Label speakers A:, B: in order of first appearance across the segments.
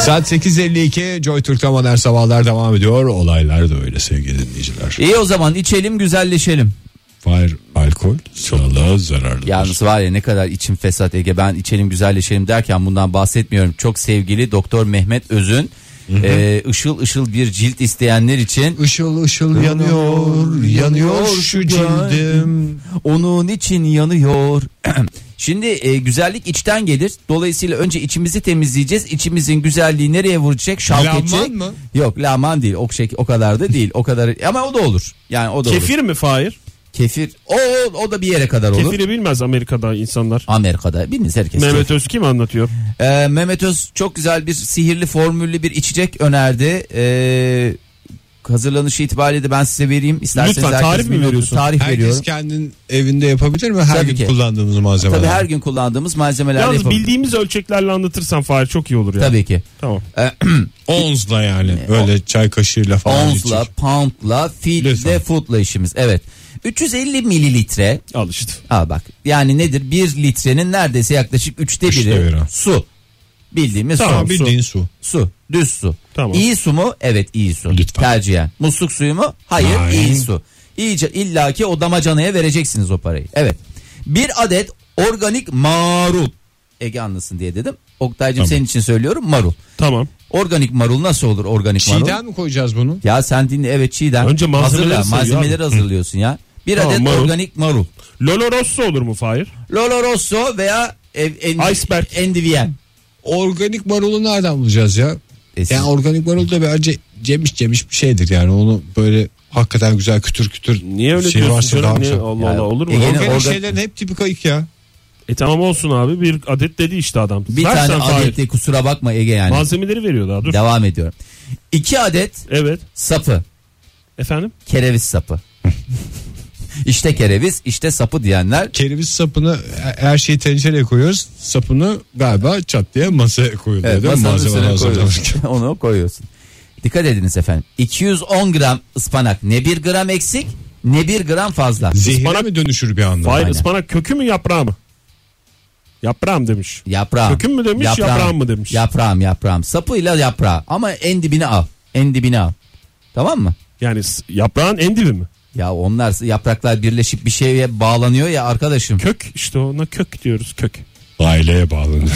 A: Saat 8.52 Joy Türk'te modern sabahlar devam ediyor. Olaylar da öyle sevgili dinleyiciler.
B: İyi o zaman içelim güzelleşelim.
A: Hayır alkol sağlığa zararlıdır.
B: Yalnız var ya ne kadar içim fesat Ege ben içelim güzelleşelim derken bundan bahsetmiyorum. Çok sevgili Doktor Mehmet Öz'ün e, ışıl ışıl bir cilt isteyenler için
A: Işıl ışıl yanıyor, yanıyor şu cildim.
B: onun için yanıyor. Şimdi e, güzellik içten gelir. Dolayısıyla önce içimizi temizleyeceğiz. İçimizin güzelliği nereye vuracak? Şalketçi.
A: Lahman mı?
B: Yok laman değil. O, şey, o kadar da değil. O kadar ama o da olur. Yani o da olur.
C: Kefir mi Fahir?
B: Kefir. O, o, o da bir yere kadar olur.
C: Kefiri bilmez Amerika'da insanlar.
B: Amerika'da biliniz herkes.
C: Mehmet Özki mi anlatıyor?
B: Ee, Mehmet Öz çok güzel bir sihirli formüllü bir içecek önerdi. Ee, hazırlanışı itibariyle de ben size vereyim. İsterseniz
C: Lütfen,
B: herkes
C: tarif mi
B: bilmiyor.
C: veriyorsun?
B: Tarif
A: Herkes
B: veriyorum.
A: kendin evinde yapabilir mi? Her
B: Tabii
A: gün
B: ki.
A: kullandığımız malzemeler.
B: Tabii her gün kullandığımız malzemelerle
C: Yalnız
B: yapabiliriz.
C: bildiğimiz ölçeklerle anlatırsan Fahir çok iyi olur ya.
B: Tabii E- ki.
C: Tamam.
A: Onzla yani.
B: E,
A: Böyle çay kaşığıyla falan.
B: Ounce'la,
A: içecek.
B: pound'la,
A: Lütfen.
B: feet'le, foot'la işimiz. Evet. 350 mililitre.
C: Al işte.
B: Aa bak. Yani nedir? 1 litrenin neredeyse yaklaşık 3'te
A: Üçte
B: biri
A: biri.
B: su. Bildiğimiz su.
A: Tamam bildiğin su.
B: Su. Düz su.
C: Tamam.
B: İyi su mu? Evet iyi su.
A: Lütfen.
B: Tercihen. Musluk suyu mu? Hayır
A: Hayır.
B: iyi su. İyice illaki o damacanaya vereceksiniz o parayı. Evet. Bir adet organik marul. Ege anlasın diye dedim. Oktay'cım senin için söylüyorum marul.
C: Tamam.
B: Organik marul nasıl olur organik marul?
A: Çiğden mi koyacağız bunu?
B: Ya sen dinle evet çiğden.
C: Önce malzemeleri
B: Hazırla,
C: sayıyor
B: malzemeleri
C: abi.
B: hazırlıyorsun ya. Bir
C: Tamam,
B: adet
C: marul.
B: organik marul.
C: Lolo Rosso olur mu Fahir?
B: Lolo Rosso veya ev, en,
C: Iceberg.
B: endivyen.
A: Organik marulu nereden bulacağız ya?
B: E siz-
A: Yani organik marul da bence cemiş cemiş bir şeydir yani onu böyle hakikaten güzel kütür kütür
C: Niye öyle
A: şey
C: diyorsun
A: varsa
C: canım?
A: daha
C: Niye?
A: güzel.
C: Allah
B: Ya,
C: Allah olur mu?
B: e, gene-
C: E,
A: Organik
B: organ-
A: şeylerin hep tipi kayık ya.
C: tamam olsun abi bir adet dedi işte adam.
B: Bir
C: Ver sen
B: tane
C: Fahir.
B: adetli kusura bakma Ege yani.
C: Malzemeleri veriyor daha dur.
B: Devam ediyorum. İki adet
C: Evet
B: sapı.
C: efendim.
B: Kereviz sapı. işte kereviz işte sapı diyenler.
A: Kereviz sapını e, her şeyi tencereye koyuyoruz. Sapını galiba çat diye masaya koyuluyor
B: Evet,
A: değil mi?
B: masanın
A: Malzeme
B: üstüne
A: hazırlanırken.
B: koyuyorsun. Onu koyuyorsun. Dikkat ediniz efendim. 210 gram ıspanak ne bir gram eksik ne bir gram fazla.
A: Zehre
C: Ispanak-
A: mi dönüşür bir anda?
C: Fahir
B: aynen.
C: ıspanak kökü mü yaprağı mı? Yaprağım demiş.
B: Yaprağım.
C: Kökün mü demiş, yaprağım mı demiş?
B: Yaprağım yaprağım. Sapıyla yaprağı ama en dibini al. En dibini al. Tamam mı?
C: Yani s- yaprağın en dibi mi?
B: Ya onlar yapraklar birleşip bir şeye bağlanıyor ya arkadaşım.
C: Kök işte ona kök diyoruz kök.
A: Aileye bağlanır.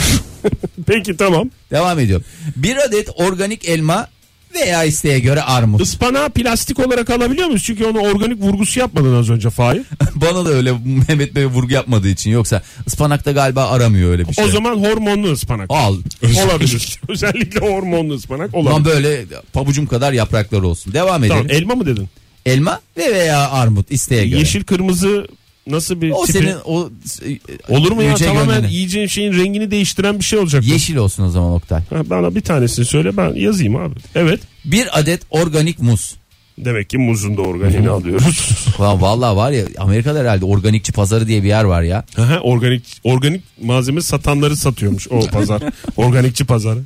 C: Peki tamam.
B: Devam ediyorum. Bir adet organik elma veya isteğe göre armut.
C: Ispanağı plastik olarak alabiliyor muyuz? Çünkü onu organik vurgusu yapmadın az önce Fahir.
B: Bana da öyle Mehmet Bey vurgu yapmadığı için yoksa ıspanakta galiba aramıyor öyle bir şey.
C: O zaman hormonlu ıspanak.
B: al.
C: Olabilir. Özellikle hormonlu ıspanak
B: Lan
C: olabilir.
B: böyle pabucum kadar yaprakları olsun. Devam edelim.
C: Tamam elma mı dedin?
B: Elma ve veya armut isteğe göre.
C: Yeşil kırmızı nasıl bir
B: O
C: tipi?
B: senin o e,
C: Olur mu ya
B: yüce
C: tamamen
B: gönlüne.
C: yiyeceğin şeyin rengini değiştiren bir şey olacak. bu.
B: yeşil olsun o zaman Oktay.
C: Ha, bana bir tanesini söyle ben yazayım abi. Evet.
B: Bir adet organik muz.
C: Demek ki muzun da organiğini alıyoruz.
B: Ulan vallahi var ya Amerika'da herhalde organikçi pazarı diye bir yer var ya.
C: Aha, organik organik malzeme satanları satıyormuş o pazar. Organikçi pazarı.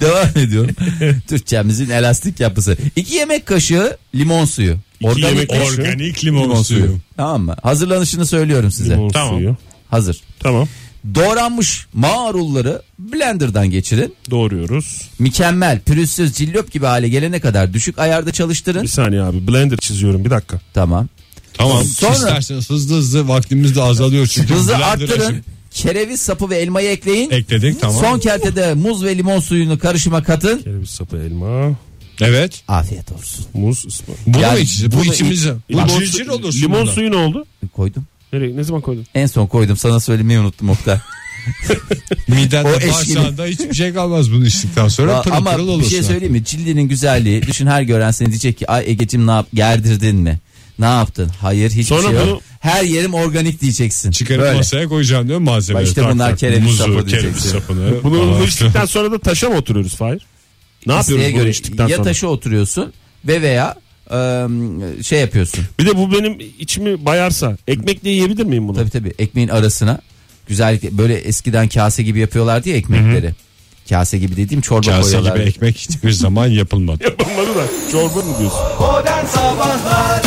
B: Devam ediyorum. Türkçemizin elastik yapısı. İki yemek kaşığı limon suyu.
C: İki yemek kaşığı
A: Organik limon suyu.
B: Tamam mı? Hazırlanışını söylüyorum size.
C: Limon
A: Tamam.
C: suyu.
B: Hazır.
C: Tamam.
B: Doğranmış marulları blenderdan geçirin.
C: Doğruyoruz.
B: Mükemmel, pürüzsüz, cillop gibi hale gelene kadar düşük ayarda çalıştırın.
C: Bir saniye abi blender çiziyorum bir dakika.
B: Tamam.
A: Tamam.
B: Sonra-
A: İsterseniz hızlı hızlı vaktimiz de azalıyor çünkü.
B: Hızı
A: Blender'a
B: arttırın.
A: şimdi
B: Kereviz sapı ve elmayı ekleyin.
A: Ekledik tamam.
B: Son kertede muz ve limon suyunu karışıma katın.
C: Kereviz sapı elma,
A: Evet.
B: Afiyet olsun.
C: muz, ıspanak.
A: Bunu
B: Yani
A: mu içeceğiz? Bu
B: bunu-
A: içimize. Bu
C: Limon,
A: cırcır
C: su-
A: olur.
C: limon
A: bundan.
C: suyu ne oldu?
B: Koydum.
C: Nereye, ne zaman koydun?
B: En son koydum sana söylemeyi unuttum Oktay.
A: Midende
B: O eşkili.
A: bağırsağında hiçbir şey kalmaz bunu içtikten sonra
B: Aa,
A: pırıl
B: Ama
A: pırıl
B: bir
A: olursun.
B: şey söyleyeyim mi? Cildinin güzelliği. Düşün her gören seni diyecek ki ay Ege'cim ne yap? Gerdirdin mi? Ne yaptın? Hayır hiçbir
C: Sonra
B: şey
C: bunu-
B: yok. Her yerim organik diyeceksin.
A: Çıkarıp
B: Böyle.
A: masaya koyacağım diyor malzemeleri.
B: Bak işte
A: Tak
B: bunlar
A: tak,
B: kereviz
A: muzu,
B: sapı
A: kereviz
B: diyeceksin.
A: sapını.
C: Bunu
A: falan.
C: içtikten sonra da taşa mı oturuyoruz Fahir? Ne yapıyoruz
B: İsteğe
C: bunu
B: göre
C: içtikten
B: ya
C: sonra?
B: taşa oturuyorsun ve veya e, şey yapıyorsun.
C: Bir de bu benim içimi bayarsa ekmekle yiyebilir miyim bunu?
B: Tabii tabii ekmeğin arasına güzellikle böyle eskiden kase gibi yapıyorlardı ya ekmekleri. Kase gibi dediğim çorba
A: Kase
B: koyuyorlar.
A: gibi ekmek hiçbir zaman yapılmadı.
C: Yapılmadı da çorba mı diyorsun?
D: Modern Sabahlar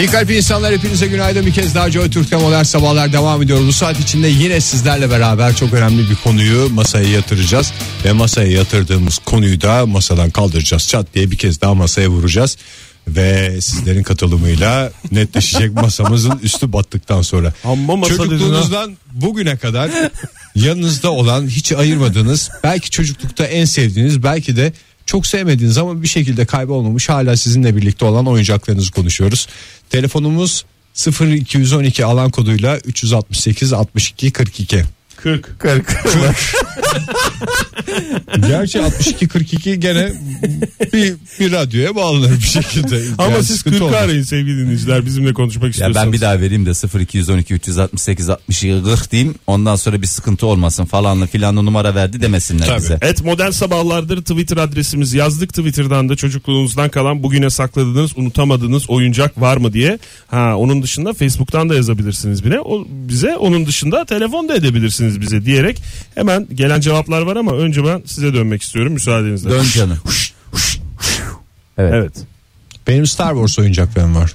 A: İyi kalp insanlar hepinize günaydın bir kez daha Joy Türk'te modern sabahlar devam ediyor. Bu saat içinde yine sizlerle beraber çok önemli bir konuyu masaya yatıracağız. Ve masaya yatırdığımız konuyu da masadan kaldıracağız. Çat diye bir kez daha masaya vuracağız. Ve sizlerin katılımıyla netleşecek masamızın üstü battıktan sonra.
C: Amma masa dedin ha.
A: Çocukluğunuzdan bugüne kadar yanınızda olan hiç ayırmadığınız belki çocuklukta en sevdiğiniz belki de çok sevmediğiniz ama bir şekilde kaybolmamış hala sizinle birlikte olan oyuncaklarınızı konuşuyoruz. Telefonumuz 0212 alan koduyla 368 62 42.
C: 40.
B: 40.
A: Gerçi 62 42 gene bir, bir radyoya bağlanır bir şekilde.
C: Ama
A: Yani
C: siz
A: sıkıntı
C: 40
A: olmaz.
C: arayın sevgili dinleyiciler bizimle konuşmak
B: Ya
C: istiyorsanız.
B: ben bir daha vereyim de 0212 368 60 40 diyeyim. Ondan sonra bir sıkıntı olmasın falanlı filanlı numara verdi demesinler
A: Tabii.
B: bize.
C: Et modern sabahlardır Twitter adresimiz yazdık Twitter'dan da çocukluğunuzdan kalan bugüne sakladığınız unutamadığınız oyuncak var mı diye. Ha onun dışında Facebook'tan da yazabilirsiniz bile. O, bize onun dışında telefon da edebilirsiniz bize diyerek hemen gelen cevaplar var ama önce ben size dönmek istiyorum müsaadenizle.
B: Dön canım. Evet.
C: Evet.
A: Benim Star Wars oyuncaklarım var.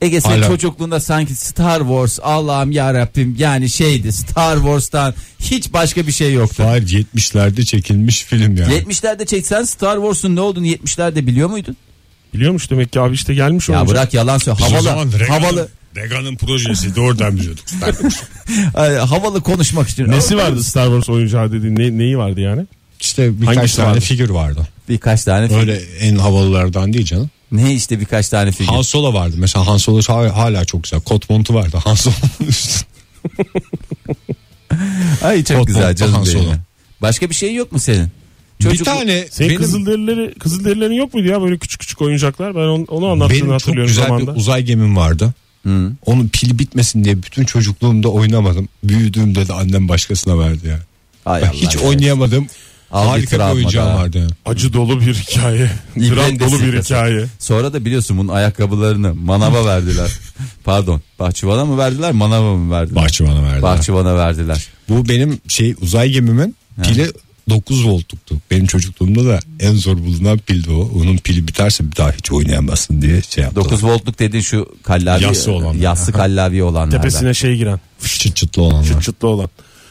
B: Ege sen
A: Hala.
B: çocukluğunda sanki Star Wars Allah'ım ya Rabbim yani şeydi Star Wars'tan hiç başka bir şey yoktu.
A: Var 70'lerde çekilmiş film yani.
B: 70'lerde çeksen Star Wars'un ne olduğunu 70'lerde biliyor muydun?
C: Biliyormuş demek ki abi işte gelmiş
B: Ya
C: oyuncak.
B: bırak yalan söyle.
A: Biz o
B: Havalı,
A: zaman Reagan'ın-
B: havalı,
A: Reagan'ın projesiydi oradan biliyorduk Star Wars.
B: e, havalı konuşmak için.
C: Nesi vardı Star Wars oyuncağı dediğin ne- neyi vardı yani?
A: İşte birkaç
C: Hangisi
A: tane
C: vardı?
A: figür vardı.
B: Birkaç tane film.
A: Öyle en havalılardan değil canım.
B: Ne işte birkaç tane figür.
A: Han Solo vardı. Mesela Han Solo hala- hala çok güzel. Kot montu vardı. Han Solo'nun üstü.
B: Ay çok
A: Hot
B: güzel
A: Hot
B: canım
A: Han
B: benim.
A: Solo.
B: ya. Başka bir şey yok mu senin?
A: Bir
B: Çocuk-
A: tane
C: Senin
A: benim,
C: Kızılderilileri, Kızılderililerin yok muydu ya böyle küçük küçük oyuncaklar? Ben onu, onu anlattığını
A: benim çok
C: hatırlıyorum
A: güzel
C: zamanda.
A: bir uzay gemim vardı. Onun pili bitmesin diye bütün çocukluğumda oynamadım. Büyüdüğümde de annem başkasına verdi yani.
B: Ay
A: Ben
B: Allah
A: hiç
B: ya.
A: oynayamadığım
B: Al bir
A: harika bir
B: travma
A: oyuncağım
B: daha.
A: vardı. yani.
C: Acı dolu bir hikaye.
B: İbret
C: Dram dolu bir
B: vesilesi.
C: hikaye.
B: Sonra da biliyorsun bunun ayakkabılarını manava verdiler. Pardon. Bahçıvana mı verdiler manava mı verdiler?
A: Bahçıvan'a verdi.
B: Bahçıvana verdiler.
A: Bu benim şey uzay gemimin pili 9 voltluktu. Benim çocukluğumda da en zor bulunan pildi o. Onun pili biterse bir daha hiç oynayamazsın diye şey yaptılar.
B: 9 voltluk dedin şu kallavi. e,
A: Yassı olanlar.
B: Yassı kallavi olanlardan.
C: Tepesine şey giren.
A: Çıt çıtlı olanlar.
C: Çıtlı olan.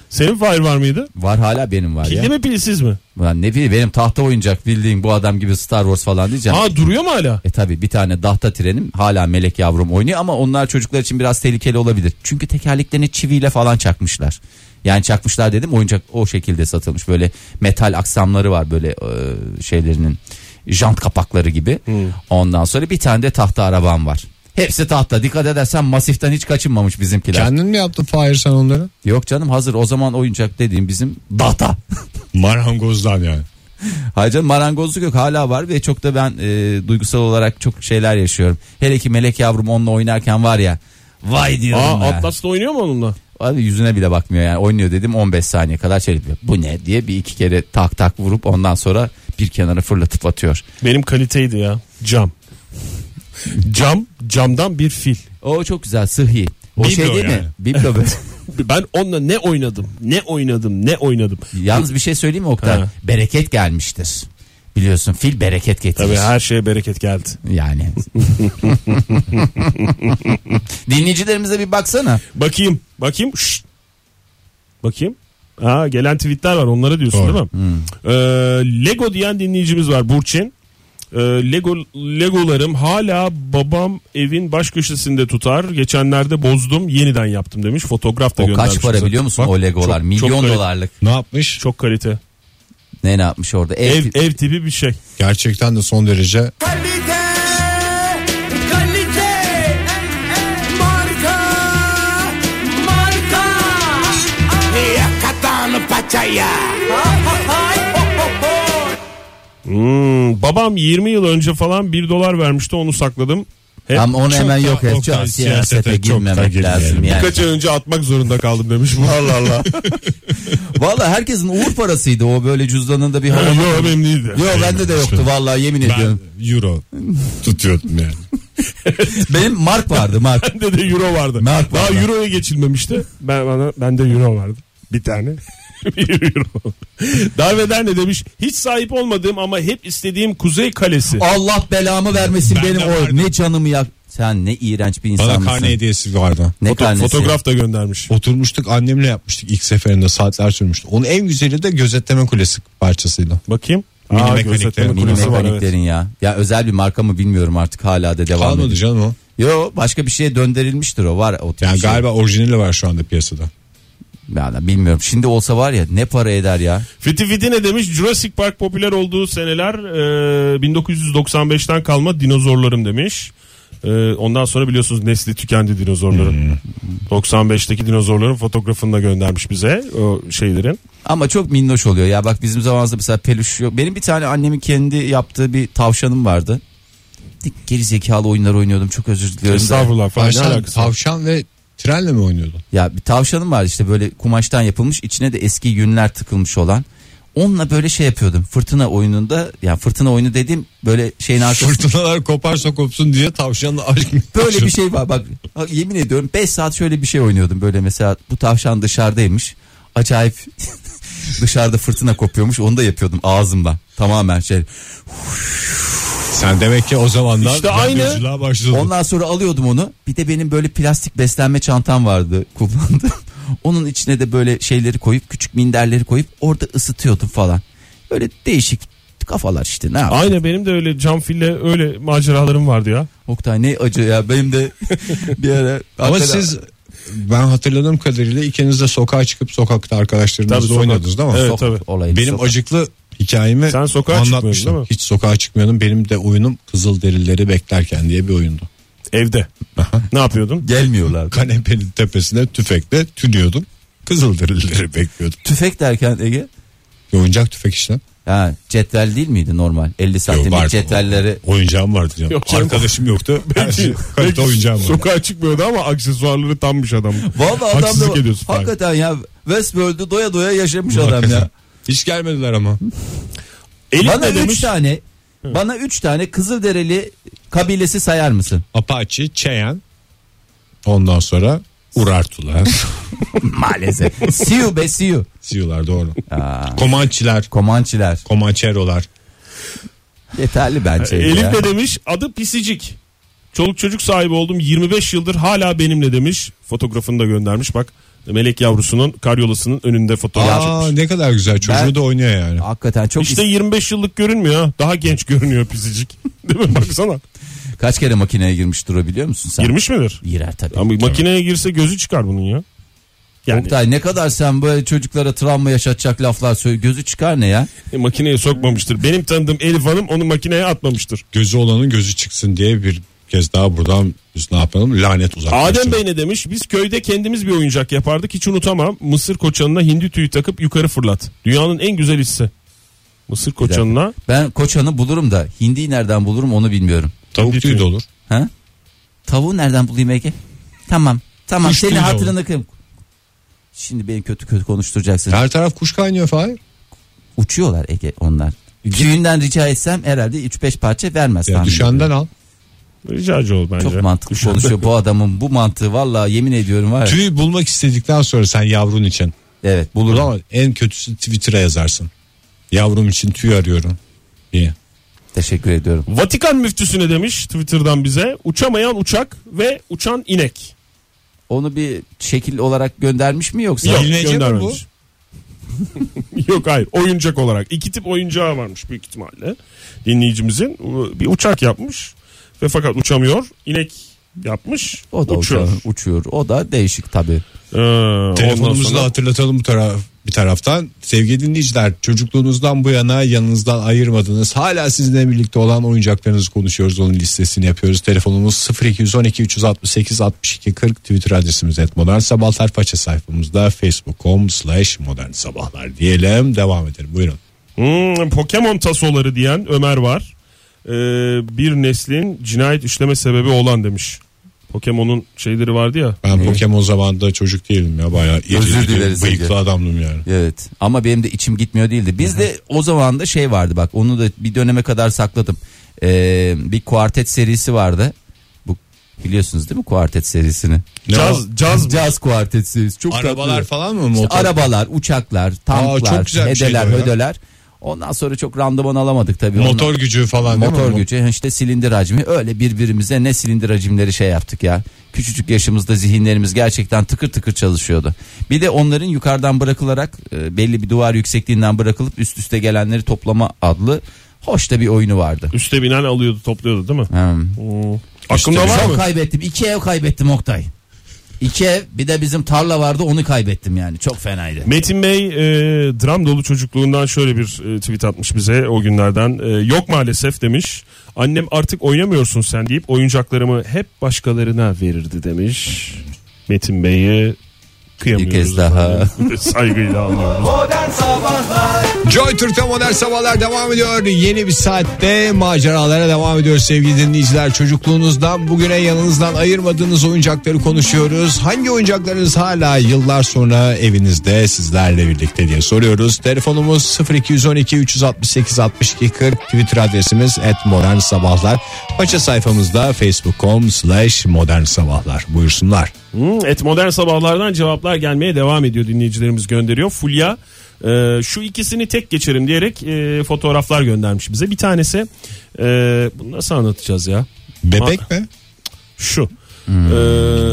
C: Senin fire var mıydı?
B: Var hala benim var ya.
C: Pilli mi pilsiz mi?
B: Ulan ne bileyim benim tahta oyuncak bildiğin bu adam gibi Star Wars falan diyeceğim.
C: Ha duruyor mu hala?
B: E tabi bir tane tahta trenim hala melek yavrum oynuyor ama onlar çocuklar için biraz tehlikeli olabilir. Çünkü tekerleklerini çiviyle falan çakmışlar. Yani çakmışlar dedim oyuncak o şekilde satılmış. Böyle metal aksamları var böyle e, şeylerinin jant kapakları gibi. Ondan sonra bir tane de tahta arabam var. Hepsi tahta dikkat edersen masiften hiç kaçınmamış bizimkiler.
A: Kendin mi yaptın Fahir sen onları?
B: Yok canım hazır o zaman oyuncak dediğim bizim tahta.
A: Marangozdan yani.
B: Hayır canım marangozluk yok hala var ve çok da ben e, duygusal olarak çok şeyler yaşıyorum. Hele ki melek yavrum onunla oynarken var ya vay diyorum
C: Aa
B: ben.
C: Atlas'ta oynuyor mu onunla?
B: Abi yüzüne bile bakmıyor yani oynuyor dedim 15 saniye kadar şey yapıyor. Bu ne diye bir iki kere tak tak vurup ondan sonra bir kenara fırlatıp atıyor.
C: Benim kaliteydi ya. Cam. Cam, camdan bir fil.
B: O çok güzel sıhhi. O
C: Biblo
B: şey değil
C: yani.
B: mi? Biblo böyle.
C: Ben onunla ne oynadım, ne oynadım, ne oynadım.
B: Yalnız bir şey söyleyeyim mi Oktay?
C: Ha.
B: Bereket gelmiştir. Biliyorsun fil bereket getirir.
C: Tabii her şeye bereket geldi.
B: Yani. Dinleyicilerimize bir baksana.
C: Bakayım, bakayım. Şşt. Bakayım. Aa, gelen tweetler var onlara diyorsun
A: Doğru.
C: değil mi?
B: Hmm.
C: Ee, Lego diyen dinleyicimiz var Burçin. Ee, Lego Legolarım hala babam evin baş köşesinde tutar. Geçenlerde bozdum, yeniden yaptım demiş. Fotoğraf da
B: O
C: göndermiş.
B: kaç para
C: bize.
B: biliyor musun
C: Bak,
B: o legolar?
C: çok-
B: Milyon
C: çok kalite-
B: dolarlık.
A: Ne yapmış?
C: Çok kalite.
B: Ne ne yapmış orada? Ev,
C: Ev ev tipi bir şey.
A: Gerçekten de son derece
D: Kalite, kalite, marka, marka. Yakatan paçaya.
C: Hmm, babam 20 yıl önce falan 1 dolar vermişti onu sakladım. Hep
B: Ama onu
A: Çok
B: hemen
A: da-
B: yok et.
A: çok da
B: Çok
A: siyasete
B: siyasete
A: çok da
B: girmemek
A: girmeyelim.
B: lazım yani.
C: birkaç ay önce atmak zorunda kaldım demiş. Allah Allah.
B: Valla herkesin uğur parasıydı o böyle cüzdanında bir hava.
C: Yok benim değildi.
B: Yok bende de yoktu valla yemin
A: ben
B: ediyorum.
A: euro tutuyordum yani.
B: Benim mark vardı mark.
C: Bende de euro vardı.
B: Mark
C: Daha
B: vardı.
C: euroya geçilmemişti. Ben bana bende euro vardı. Bir tane. bir euro. Darveder ne demiş? Hiç sahip olmadığım ama hep istediğim Kuzey Kalesi.
B: Allah belamı vermesin
A: Ben de
B: benim o.
A: vardı.
B: Ne canımı yak. Sen ne iğrenç bir
A: Bana
B: insan mısın?
A: karne hediyesi vardı.
B: Ne
C: Foto-
B: karnesi?
C: fotoğraf da göndermiş.
A: Oturmuştuk annemle yapmıştık ilk seferinde saatler sürmüştü. Onun en güzeli de gözetleme kulesi parçasıyla.
C: Bakayım.
A: Mini
C: Aa,
A: mekaniklerin-
C: gözetleme
A: mini
B: Mini
C: kulesi var, evet.
B: mekaniklerin ya. Ya özel bir marka mı bilmiyorum artık hala da devam
A: Kalmadı
B: ediyor.
A: canım o.
B: Yo başka bir şeye döndürülmüştür o var o tip
A: Yani
B: bir şey.
A: galiba orijinali var şu anda piyasada.
B: Yani bilmiyorum. Şimdi olsa var ya ne para eder ya.
C: Fiti Fiti ne demiş? Jurassic Park popüler olduğu seneler e, 1995'ten kalma dinozorlarım demiş. E, ondan sonra biliyorsunuz nesli tükendi dinozorların.
B: Hmm.
C: 95'teki dinozorların fotoğrafını da göndermiş bize o şeylerin.
B: Ama çok minnoş oluyor ya. Bak bizim zamanımızda mesela peluş yok. Benim bir tane annemin kendi yaptığı bir tavşanım vardı. Geri zekalı oyunlar oynuyordum. Çok özür diliyorum. da.
C: Estağfurullah falan ne
A: Tavşan,
C: alakası var?
A: tavşan ve trenle mi oynuyordun?
B: Ya bir tavşanım vardı işte böyle kumaştan yapılmış içine de eski yünler tıkılmış olan. Onunla böyle şey yapıyordum. Fırtına oyununda yani fırtına oyunu dediğim böyle şeyin arkasında
A: Fırtınalar koparsa kopsun diye tavşanla aşk mı?
B: böyle bir şey var bak bak yemin ediyorum 5 saat şöyle bir şey oynuyordum böyle mesela bu tavşan dışarıdaymış acayip dışarıda fırtına kopuyormuş onu da yapıyordum ağzımla tamamen şey
C: şey-
A: Sen demek ki o zamanlar
C: İşte aynı.
A: radyoculuğa başladın.
B: ondan sonra alıyordum onu bir de benim böyle plastik beslenme çantam vardı kullandım onun içine de böyle şeyleri koyup küçük minderleri koyup orada ısıtıyordum falan böyle değişik kafalar işte ne yapayım
C: Aynen benim de öyle cam fille öyle maceralarım vardı ya.
B: Oktay ne acı ya benim de bir ara
A: Ama
B: Hakikaten-
A: siz ben hatırladığım kadarıyla ikiniz de sokağa çıkıp sokakta
C: Tabii
A: arkadaşlarınızla
C: sokak.
A: oynadınız değil mi?
C: Evet,
B: Sokak
C: tabii.
B: olayı,
A: Benim
B: sokak.
A: acıklı hikayemi
C: Sen sokağa çıkmıyordun
A: anlatmıştım.
C: değil mi?
A: Hiç sokağa çıkmıyordum. Benim de oyunum Kızılderilileri Beklerken diye bir oyundu.
C: Evde. ne yapıyordun?
B: gelmiyorlar.
A: Kanepenin tepesine tüfekle tünüyordum. Kızılderilileri bekliyordum.
B: Tüfek derken Ege
A: Oyuncak tüfek işte.
B: Ha, cetvel değil miydi normal? 50 santimlik
A: vardı.
B: cetvelleri.
A: Oyuncağım vardı canım.
C: Yok canım.
A: Arkadaşım yoktu. Belki,
C: Belki
A: kalite oyuncağım vardı.
C: Sokağa çıkmıyordu ama aksesuarları tammış adam.
B: Vallahi adam
C: Haksızlık
B: da
C: ediyorsun. Fahir.
B: hakikaten ya Westworld'u doya doya yaşamış adam
A: Hakikaten.
B: ya.
A: Hiç gelmediler ama.
C: Elif
B: Bana
C: ne
B: 3
C: demiş?
B: tane bana 3 tane Kızılderili kabilesi sayar mısın?
A: Apache, Cheyenne. Ondan sonra Urartular.
B: Maalesef. Siu be Siu.
A: Siyular doğru. Komançiler.
B: Komançiler.
A: Komançerolar.
B: Yeterli bence. ya.
C: Elif ne demiş? Adı pisicik. Çoluk çocuk sahibi oldum 25 yıldır hala benimle demiş. Fotoğrafını da göndermiş bak. Melek yavrusunun karyolasının önünde fotoğraf
A: Aa,
C: çekmiş.
A: ne kadar güzel çocuğu
B: Ben-
A: da oynuyor yani.
B: Hakikaten çok
C: İşte
B: is-
C: 25 yıllık görünmüyor ha. Daha genç görünüyor pisicik. Değil mi? Baksana.
B: kaç kere makineye girmiş durabiliyor musun sen?
C: Girmiş midir?
B: Girer tabii.
C: Ama makineye girse gözü çıkar bunun ya. Yani
B: Oktay ne kadar sen böyle çocuklara travma yaşatacak laflar söyle gözü çıkar ne ya?
C: e, makineye sokmamıştır. Benim tanıdığım Elif Hanım onu makineye atmamıştır.
A: Gözü olanın gözü çıksın diye bir kez daha buradan biz ne yapalım lanet uzaklaştıralım.
C: Adem Bey ne demiş? Biz köyde kendimiz bir oyuncak yapardık. Hiç unutamam. Mısır koçanına hindi tüyü takıp yukarı fırlat. Dünyanın en güzel hissi. Mısır koçanına
B: Ben koçanı bulurum da hindiyi nereden bulurum onu bilmiyorum.
A: Tavuk tüyü de olur.
B: Ha? Tavuğu nereden bulayım Ege? Tamam. Tamam
A: Kuş
B: senin
A: tüyü de
B: hatırını kıyım. Şimdi beni kötü kötü konuşturacaksın.
A: Her taraf kuş kaynıyor Fahir.
B: Uçuyorlar Ege onlar. Tüyünden rica etsem herhalde 3-5 parça vermez.
A: Ya
B: tahmin
A: düşenden
B: ediyorum.
A: al.
C: ricacı ol bence. şey
B: Çok mantıklı
C: Düşen-
B: konuşuyor bu adamın bu mantığı valla yemin ediyorum var ya.
A: Tüyü bulmak istedikten sonra sen yavrun için.
B: Evet bulurum.
A: Ama en kötüsü Twitter'a yazarsın. Yavrum için tüy arıyorum diye.
B: Teşekkür ediyorum.
C: Vatikan müftüsü ne demiş Twitter'dan bize? Uçamayan uçak ve uçan inek.
B: Onu bir şekil olarak göndermiş mi yoksa?
A: Yok. Bilinecek mi
C: göndermemiş. Yok hayır oyuncak olarak. iki tip oyuncağı varmış büyük ihtimalle. Dinleyicimizin bir uçak yapmış ve fakat uçamıyor. İnek yapmış.
B: O da
C: uçuyor.
B: uçuyor. uçuyor. O da değişik tabii.
C: Ee, ondan
A: Telefonumuzu
C: sonra-
A: da hatırlatalım bu taraf bir taraftan. Sevgili dinleyiciler çocukluğunuzdan bu yana yanınızdan ayırmadığınız hala sizinle birlikte olan oyuncaklarınızı konuşuyoruz. Onun listesini yapıyoruz. Telefonumuz 0212 368 62 40 Twitter adresimiz et modern sabahlar faça sayfamızda facebook.com slash modern sabahlar diyelim. Devam edelim buyurun.
C: Hmm, Pokemon tasoları diyen Ömer var. Ee, bir neslin cinayet işleme sebebi olan demiş. Pokemon'un şeyleri vardı ya.
A: Ben Pokemon zamanında çocuk değilim ya bayağı iri,
B: Özür
A: iri,
B: dileriz Ege.
A: bıyıklı adamdım yani.
B: Evet ama benim de içim gitmiyor değildi. Bizde o zaman da şey vardı bak onu da bir döneme kadar sakladım. Ee, bir kuartet serisi vardı. Bu biliyorsunuz değil mi kuartet serisini?
A: Ne
C: Caz, caz mı?
B: Caz kuartet serisi. Çok
A: Arabalar
B: tatlı.
A: falan mı
B: İşte
A: motor?
B: arabalar, uçaklar, tanklar,
A: çok güzel bir şeydi
B: hedeler,
A: o ya.
B: hödeler. Ondan sonra çok randıman alamadık tabii.
A: Motor gücü falan
B: Ondan-
A: değil mi?
B: motor gücü işte silindir hacmi öyle birbirimize ne silindir hacimleri şey yaptık ya. Küçücük yaşımızda zihinlerimiz gerçekten tıkır tıkır çalışıyordu. Bir de onların yukarıdan bırakılarak e, belli bir duvar yüksekliğinden bırakılıp üst üste gelenleri toplama adlı hoş da bir oyunu vardı.
C: Üste binen alıyordu topluyordu değil mi?
B: Hmm.
C: Hmm. Aklımda var
B: Çok
C: mı?
B: kaybettim. İki ev kaybettim Oktay. İki ev bir de bizim tarla vardı onu kaybettim yani. Çok fenaydı.
C: Metin Bey e, dram dolu çocukluğundan şöyle bir e, tweet atmış bize o günlerden. E, yok maalesef demiş. Annem artık oynamıyorsun sen deyip oyuncaklarımı hep başkalarına verirdi demiş. Metin Bey'i kıyamıyoruz.
B: Bir kez daha.
C: Saygıyla anlıyoruz.
D: Modern Sabahlar
A: Joy Türk'te modern sabahlar devam ediyor. Yeni bir saatte maceralara devam ediyoruz sevgili dinleyiciler. Çocukluğunuzdan bugüne yanınızdan ayırmadığınız oyuncakları konuşuyoruz. Hangi oyuncaklarınız hala yıllar sonra evinizde sizlerle birlikte diye soruyoruz. Telefonumuz 0212 368 62 40 Twitter adresimiz et modern sabahlar. Paça sayfamızda facebook.com slash modern sabahlar buyursunlar.
C: Hmm, Et modern sabahlardan cevaplar gelmeye devam ediyor dinleyicilerimiz gönderiyor. Fulya e, şu ikisini tek geçerim diyerek e, fotoğraflar göndermiş bize. Bir tanesi e, bunu nasıl anlatacağız ya?
A: Bebek mi?
C: Şu.
B: Hmm.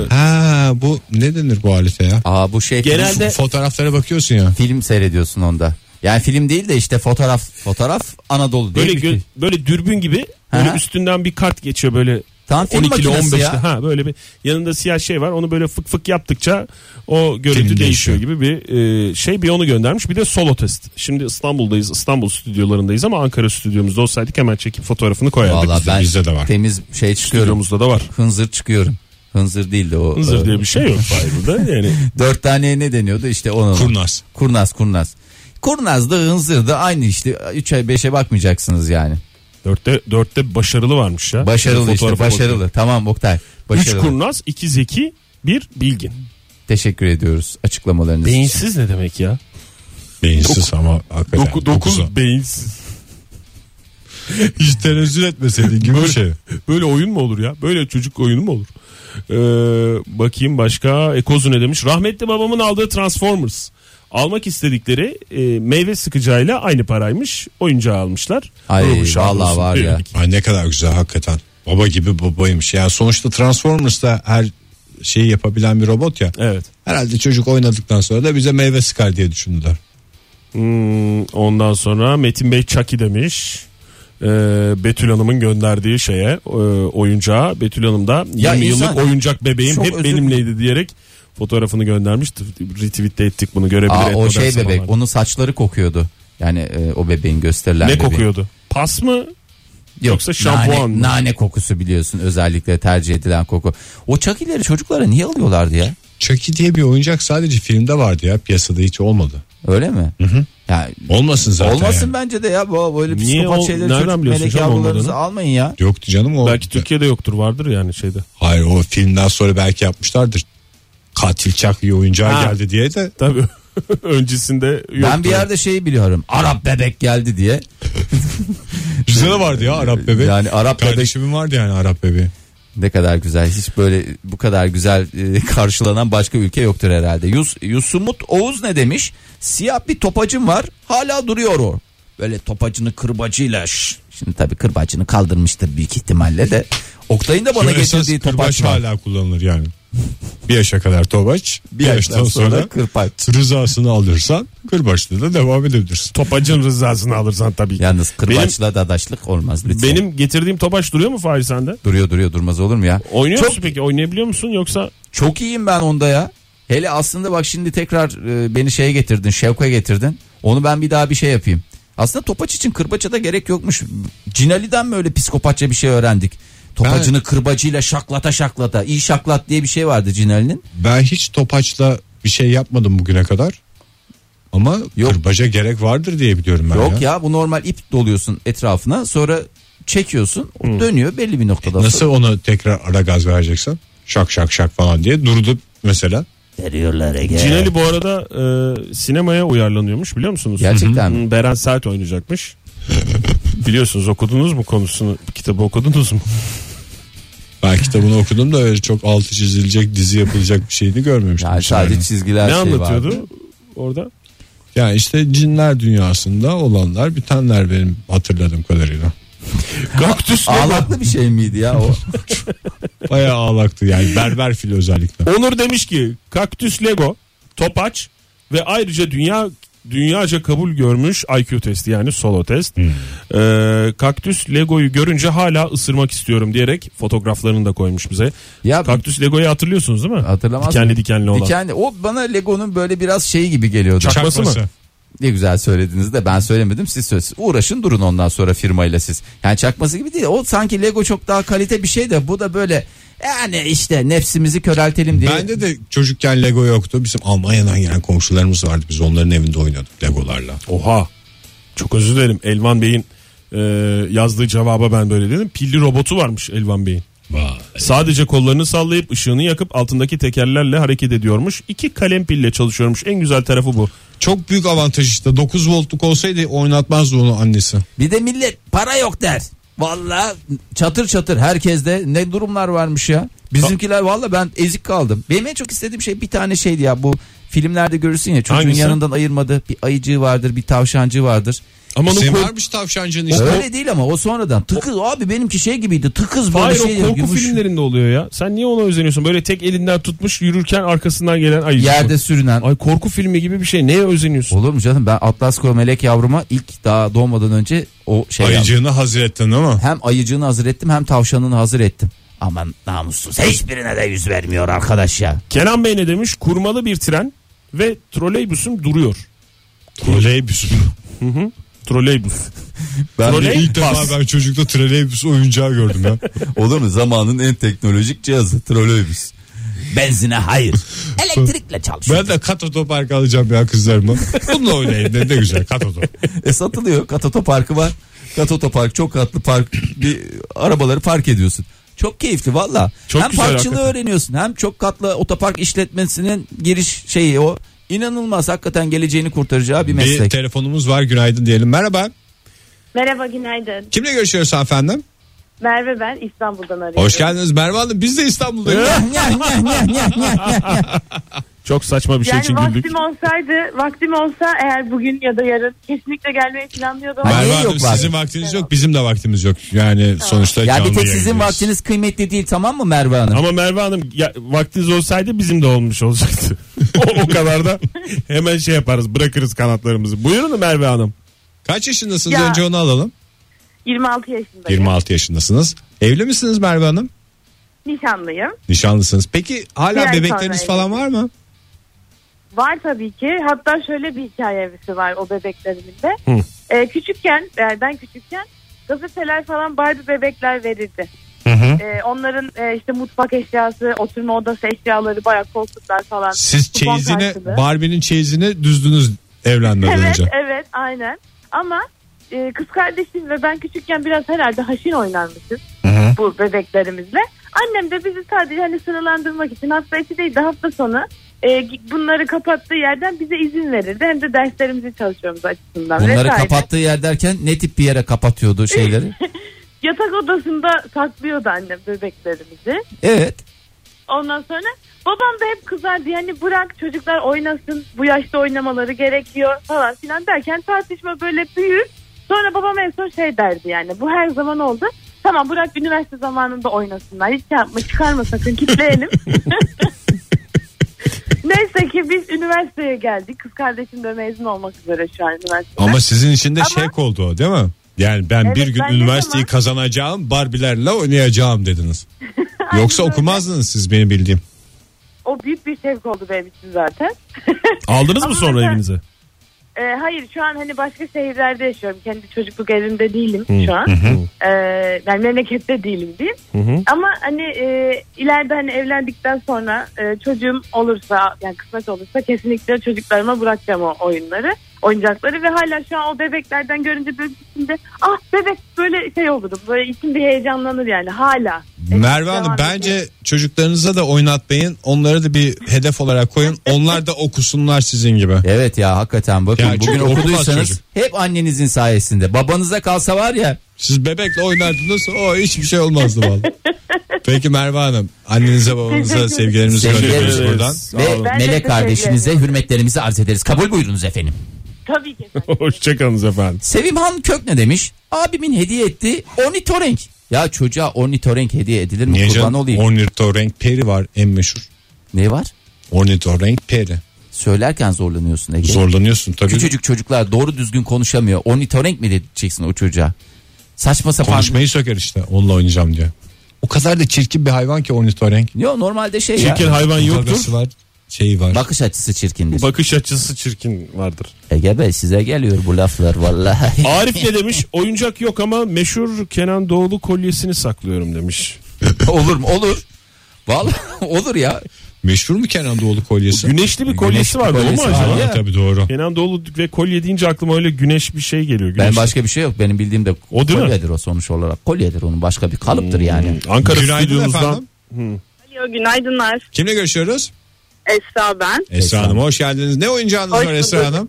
C: E,
A: Ha bu ne denir bu alete ya?
B: Aa bu şey
C: Genelde-
A: Fotoğraflara bakıyorsun ya.
B: film seyrediyorsun onda. Yani film değil de işte fotoğraf fotoğraf Anadolu değil
C: Böyle
B: mi
C: gö-
B: ki?
C: böyle dürbün gibi böyle
B: Aha.
C: üstünden bir kart geçiyor böyle.
B: Tam film
C: 12 ile
B: makinesi
C: 15 ile
B: ya.
C: ha böyle bir yanında siyah şey var. Onu böyle fık fık yaptıkça o görüntü
A: Film
C: değişiyor
A: değişiyor.
C: gibi bir e, şey bir onu göndermiş. Bir de solo test. Şimdi İstanbul'dayız. İstanbul stüdyolarındayız ama Ankara stüdyomuzda olsaydık hemen çekip fotoğrafını koyardık.
B: Vallahi
A: bizde-
B: ben
A: bizde de var.
B: temiz şey çıkıyorum.
C: Stüdyomuzda da var.
B: Hınzır çıkıyorum. Hınzır değil de o.
C: Hınzır
B: e,
C: diye bir şey yok Fahir burada yani.
B: Dört tane ne deniyordu işte onu.
A: Kurnaz.
B: Kurnaz kurnaz. Kurnaz da hınzır da aynı işte 3 ay 5'e bakmayacaksınız yani.
C: Dörtte, dörtte başarılı varmış ya.
B: Başarılı işte
C: Fotoğrafa
B: başarılı. Tamam Oktay.
C: bakıyorum. Üç
B: Başarılı.
C: kurnaz, iki zeki, bir bilgin.
B: Teşekkür ediyoruz açıklamalarınız için.
C: Beyinsiz ne demek ya?
A: Beyinsiz ama hakikaten.
C: Doku, dokuz beyinsiz.
A: Hiç tenezzül etmeseydin gibi bir şey.
C: Böyle oyun mu olur ya? Böyle çocuk oyunu mu olur? Ee, bakayım başka. Ekozu ne demiş? Rahmetli babamın aldığı Transformers. Almak istedikleri e, meyve sıkacağıyla aynı paraymış. Oyuncağı almışlar.
B: Ay,
C: Ruhu şad
B: vallahi
C: olsun
B: var ya.
C: diyorduk.
A: Ay ne kadar güzel hakikaten. Baba gibi babaymış. Yani sonuçta Transformers'ta her şeyi yapabilen bir robot ya.
C: Evet.
A: Herhalde çocuk oynadıktan sonra da bize meyve sıkar diye düşündüler.
C: Hmm, ondan sonra Metin Bey Çaki demiş. Ee, Betül Hanım'ın gönderdiği şeye e, oyuncağa Betül Hanım da 20
B: Ya insan-
C: yıllık oyuncak bebeğim
B: Çok
C: hep
B: özür-
C: benimleydi diyerek fotoğrafını göndermiş. Retweet de ettik bunu görebilir.
B: Aa,
C: et
B: o
C: modern
B: şey bebek
C: sabahlarda.
B: onun saçları kokuyordu. Yani e, o bebeğin gösterilen
C: Ne
B: bebeğin.
C: kokuyordu? Pas mı?
B: Yok,
C: Yoksa şampuan
B: nane,
C: mı?
B: nane kokusu biliyorsun özellikle tercih edilen koku. O çakileri çocuklara niye alıyorlardı ya?
A: Chucky diye bir oyuncak sadece filmde vardı ya piyasada hiç olmadı.
B: Öyle mi? Ya,
A: Olmasın zaten.
B: olmasın
A: yani.
B: bence de ya bu böyle
C: Niye
B: psikopat
C: o-
B: şeyleri
C: nereden
B: çocuk
C: biliyorsun
B: melek
C: canım
B: yavrularınızı
C: olmadığını?
B: almayın ya.
A: Yoktu canım o.
C: Belki Türkiye'de yoktur vardır yani şeyde.
A: Hayır o filmden sonra belki yapmışlardır. Katil Chucky oyuncağı
C: Ha.
A: geldi diye de
C: Tabii. Öncesinde yoktur.
B: Ben bir yerde şeyi biliyorum. Arap bebek geldi diye.
A: bize de vardı ya Arap bebeği.
B: Yani Arap bebek-
A: Kardeşimin vardı yani Arap bebeği.
B: Ne kadar güzel. Hiç böyle bu kadar güzel e, karşılanan başka ülke yoktur herhalde. Yus, Yusumut Oğuz ne demiş? Siyah bir topacım var. Hala duruyor o. Böyle topacını kırbacıyla. şş. Şimdi tabii kırbacını kaldırmıştır büyük ihtimalle de. Oktay'ın da bana
A: Şu esas
B: getirdiği
A: kırbaç
B: topaç var.
A: hala kullanılır yani. Bir yaşa kadar topaç, bir, yaştan, sonra,
B: kırpaç.
A: rızasını alırsan kırbaçla da devam edebilirsin.
C: Topacın rızasını alırsan tabii ki.
B: Yalnız kırbaçla dadaşlık olmaz lütfen.
C: Benim getirdiğim topaç duruyor mu Fahri sende?
B: duruyor duruyor durmaz olur mu ya?
C: Oynuyor
B: çok,
C: musun peki? Oynayabiliyor musun yoksa?
B: Çok iyiyim ben onda ya. Hele aslında bak şimdi tekrar e, beni şeye getirdin, Şevk'a getirdin. Onu ben bir daha bir şey yapayım. Aslında topaç için kırbaça da gerek yokmuş. Cinali'den mi öyle psikopatça bir şey öğrendik? Topacını kırbacıyla şaklata şaklata. İyi şaklat diye bir şey vardı Cinali'nin.
A: Ben hiç topaçla bir şey yapmadım bugüne kadar. Ama
B: Yok.
A: kırbaca gerek vardır diye biliyorum ben
B: Yok
A: ya.
B: ya. bu normal ip doluyorsun etrafına sonra çekiyorsun o dönüyor belli bir noktada.
A: Nasıl ona tekrar ara gaz vereceksin? Şak şak şak falan diye durdu mesela.
B: Veriyorlar Ege.
C: Cinali bu arada e, sinemaya uyarlanıyormuş biliyor musunuz?
B: Gerçekten mi?
C: Hı, Beren Sert oynayacakmış. Biliyorsunuz okudunuz mu konusunu? Kitabı okudunuz mu?
A: Ben kitabını okudum da öyle çok altı çizilecek dizi yapılacak bir şeyini görmemiştim.
B: Yani
A: hiç yani.
B: sadece çizgiler
C: ne
B: şey
C: anlatıyordu
B: vardı.
C: orada?
A: Yani işte cinler dünyasında olanlar bitenler benim hatırladığım kadarıyla.
C: Kaktüs ne lan?
B: Ağlaklı bir şey miydi ya o?
A: Bayağı ağlaktı yani berber fil özellikle.
C: Onur demiş ki kaktüs Lego, topaç ve ayrıca dünya dünyaca kabul görmüş IQ testi yani solo test.
B: Hmm.
C: Ee, kaktüs Lego'yu görünce hala ısırmak istiyorum diyerek fotoğraflarını da koymuş bize.
B: Ya
C: Kaktüs Lego'yu hatırlıyorsunuz değil mi?
B: hatırlamaz
C: Dikenli
B: mı?
C: dikenli olan.
B: Dikenli. O bana Lego'nun böyle biraz şeyi gibi geliyordu.
C: Çakması mı?
B: Ne güzel söylediniz de ben söylemedim siz söz. Uğraşın durun ondan sonra firmayla siz. Yani çakması gibi değil. O sanki Lego çok daha kalite bir şey de bu da böyle yani işte nefsimizi köreltelim diye.
A: Bende de çocukken Lego yoktu. Bizim Almanya'dan gelen komşularımız vardı. Biz onların evinde oynuyorduk Legolarla.
C: Oha. Çok özür dilerim. Elvan Bey'in e, yazdığı cevaba ben böyle dedim. Pilli robotu varmış Elvan Bey'in. Sadece kollarını sallayıp ışığını yakıp altındaki tekerlerle hareket ediyormuş. İki kalem pille çalışıyormuş. En güzel tarafı bu.
A: Çok büyük avantaj işte. 9 voltluk olsaydı oynatmazdı onu annesi.
B: Bir de millet para yok der. Valla çatır çatır herkeste ne durumlar varmış ya. Bizimkiler valla ben ezik kaldım. Benim en çok istediğim şey bir tane şeydi ya bu filmlerde görürsün ya çocuğun
C: Hangisi?
B: yanından ayırmadı. Bir ayıcığı vardır bir tavşancığı vardır.
C: Ama onu
A: Senin
C: kork-
A: varmış tavşancığın
B: O
A: işte.
B: Öyle değil ama o sonradan tıkız abi benimki şey gibiydi tıkız böyle
C: Hayır
B: şey.
C: o korku
B: yumuş-
C: filmlerinde oluyor ya. Sen niye ona özeniyorsun? Böyle tek elinden tutmuş yürürken arkasından gelen ayı.
B: Yerde sürünen.
C: Ay korku filmi gibi bir şey. Neye özeniyorsun?
B: Olur mu canım ben Atlasko melek yavruma ilk daha doğmadan önce o şey yaptım.
A: Ayıcığını hazır ettin ama.
B: Hem ayıcığını hazır ettim hem tavşanını hazır ettim. Aman namussuz hiçbirine de yüz vermiyor arkadaş ya.
C: Kenan Bey ne demiş? Kurmalı bir tren ve trolleybüsüm duruyor.
A: Troleybüs.
C: Trolleybüs.
A: Ben ilk defa ben çocukta troleybüs oyuncağı gördüm ya.
B: Olur mu zamanın en teknolojik cihazı trolleybüs. Benzine hayır. Elektrikle çalışıyor.
A: Ben de kat otopark alacağım ya kızlarıma. Bununla oynayayım ne, ne güzel kat otop.
B: E satılıyor. Kat otoparkı var. Kat otopark çok katlı park. Bir arabaları park ediyorsun. Çok keyifli valla.
C: Çok
B: hem
C: güzel
B: parkçılığı
C: hakikaten.
B: öğreniyorsun hem çok katlı otopark işletmesinin giriş şeyi o. İnanılmaz hakikaten geleceğini kurtaracağı bir
A: Bir
B: meslek.
A: telefonumuz var günaydın diyelim. Merhaba.
E: Merhaba günaydın.
A: Kimle görüşüyoruz efendim?
E: Merve ben İstanbul'dan arıyorum.
A: Hoş geldiniz Merve Hanım. Biz de İstanbul'dayız.
C: Çok saçma bir şey
E: Yani
C: için güldük.
E: vaktim olsaydı, vaktim olsa eğer bugün ya da yarın kesinlikle gelmeyi planlıyordum. ama
B: Hayır.
A: Merve
B: Niye
A: Hanım
B: yok var?
A: sizin vaktiniz yok bizim de vaktimiz yok. Yani sonuçta
B: ya
A: canlı
B: bir tek sizin
A: yayındayız.
B: vaktiniz kıymetli değil tamam mı Merve Hanım?
C: Ama Merve Hanım ya, vaktiniz olsaydı bizim de olmuş olacaktı. o, o kadar da hemen şey yaparız bırakırız kanatlarımızı. Buyurun Merve Hanım.
A: Kaç yaşındasınız
E: Ya.
A: önce onu alalım.
E: 26 yaşındayım.
A: 26 yaşındasınız. Evli misiniz Merve Hanım?
E: Nişanlıyım.
A: Nişanlısınız. Peki hala
E: Bir ay
A: bebekleriniz
E: sonra
A: falan var mı?
E: Var tabii ki. Hatta şöyle bir hikayesi var o bebeklerimin de. Ee, küçükken, e, ben küçükken gazeteler falan Barbie bebekler verirdi. Ee, onların e, işte mutfak eşyası, oturma odası eşyaları, bayağı koltuklar falan.
A: Siz
E: kupon
A: çeyizini
E: karşılığı.
A: Barbie'nin çeyizini düzdünüz evlenmeden
E: Evet
A: önce.
E: evet aynen ama e, kız kardeşim ve ben küçükken biraz herhalde haşin oynarmışız bu bebeklerimizle. Annem de bizi sadece hani sıralandırmak için hafta içi değil de hafta sonu e, bunları kapattığı yerden bize izin verirdi. Hem de derslerimizi çalışıyoruz açısından.
B: Bunları
E: vesaire.
B: kapattığı yer derken ne tip bir yere kapatıyordu şeyleri?
E: Yatak odasında saklıyordu annem bebeklerimizi.
B: evet.
E: Ondan sonra babam da hep kızardı. Yani bırak çocuklar oynasın. Bu yaşta oynamaları gerekiyor falan filan derken tartışma böyle büyür. Sonra babam en son şey derdi yani. Bu her zaman oldu. Tamam bırak üniversite zamanında oynasınlar. Hiç yapma çıkarma sakın kitleyelim. Neyse ki biz üniversiteye geldik. Kız kardeşim de mezun olmak üzere şu an üniversitede.
A: Ama sizin için de
E: Ama-
A: şek oldu o değil mi? Yani ben
E: Evet,
A: bir gün
E: ben ne
A: üniversiteyi
E: zaman-
A: kazanacağım Barbilerle oynayacağım dediniz. Yoksa
E: öyle.
A: okumazdınız siz benim bildiğim.
E: O büyük bir şevk oldu benim için zaten.
C: Aldınız mı
E: Ama
C: sonra
E: mesela-
C: evinize?
E: Ee, hayır şu an hani başka şehirlerde yaşıyorum. Kendi çocukluk evimde değilim şu an. Ee, ben memlekette değilim diyeyim. Ama hani e, ileride hani evlendikten sonra e, çocuğum olursa yani kısmet olursa kesinlikle çocuklarıma bırakacağım o oyunları. Oyuncakları ve hala şu an o bebeklerden görünce böyle içimde ah bebek böyle şey olurum. Böyle içim bir heyecanlanır yani hala.
A: Merve
E: Devam
A: Hanım
E: ediyor.
A: bence çocuklarınıza da oynatmayın. Onları da bir hedef olarak koyun. Onlar da okusunlar sizin gibi.
B: Evet ya hakikaten bakın
A: Ya
B: bugün
A: çok okumaz
B: okuduysanız
A: çocuk.
B: hep annenizin sayesinde. Babanıza kalsa var ya
A: Siz bebekle oynardınız o hiçbir şey olmazdı vallahi. Peki Merve Hanım annenize babanıza
E: Teşekkür
A: sevgilerimizi
B: Sevgiler
A: gönderiyoruz
C: ederiz.
A: buradan.
C: Sağ
B: ve
C: olun.
E: Ben de
B: melek
E: teşekkür
B: kardeşinize hürmetlerimizi arz ederiz. Kabul buyurunuz efendim.
F: Tabii ki efendim.
C: Hoşçakalınız efendim.
B: Sevimhan Kök ne demiş? Abimin hediye ettiği ornitorenk. Ya çocuğa ornitorenk hediye edilir mi?
A: Niye
B: Kurban
A: canım?
B: olayım.
A: Ornitorenk peri var en meşhur.
B: ne var?
A: Ornitorenk peri.
B: Söylerken zorlanıyorsun Ege.
A: Zorlanıyorsun tabii.
B: Küçücük çocuklar doğru düzgün konuşamıyor. Ornitorenk mi diyeceksin o çocuğa? Saçma sapan.
A: Konuşmayı söker işte onunla oynayacağım diye. O kadar da çirkin bir hayvan ki ornitorenk.
B: Yo, normalde şey ya.
C: Çirkin hayvan yoktur.
A: Gagası var şeyi var.
B: Bakış açısı çirkindir.
C: Bakış açısı çirkin vardır.
B: Ege Bey size geliyor bu laflar vallahi.
C: Arif ne demiş? Oyuncak yok ama meşhur Kenan Doğulu kolyesini saklıyorum demiş.
B: olur mu? Olur. Vallahi olur ya.
A: Meşhur mu Kenan Doğulu kolyesi?
C: Güneşli bir kolyesi
B: Güneşli
C: vardı o mu
B: kolyesi
C: acaba?
B: var
A: Ha,
B: ya.
A: tabii doğru.
C: Kenan Doğulu ve kolye deyince aklıma öyle güneş bir şey geliyor.
B: Ben
C: Güneşli.
B: başka bir şey yok. Benim bildiğim de
C: O değil mi?
B: kolyedir o sonuç olarak. Kolyedir onun başka bir kalıptır yani.
C: Ankara
A: Günaydın
C: stüdyomuzdan
A: efendim.
E: Alo, Hani günaydınlar.
A: Kimle görüşüyoruz?
E: Esra ben.
A: Esra Hanım hoş geldiniz. Ne oyuncağınız
E: Hoş
A: var Esra
E: bulduk.
A: Hanım?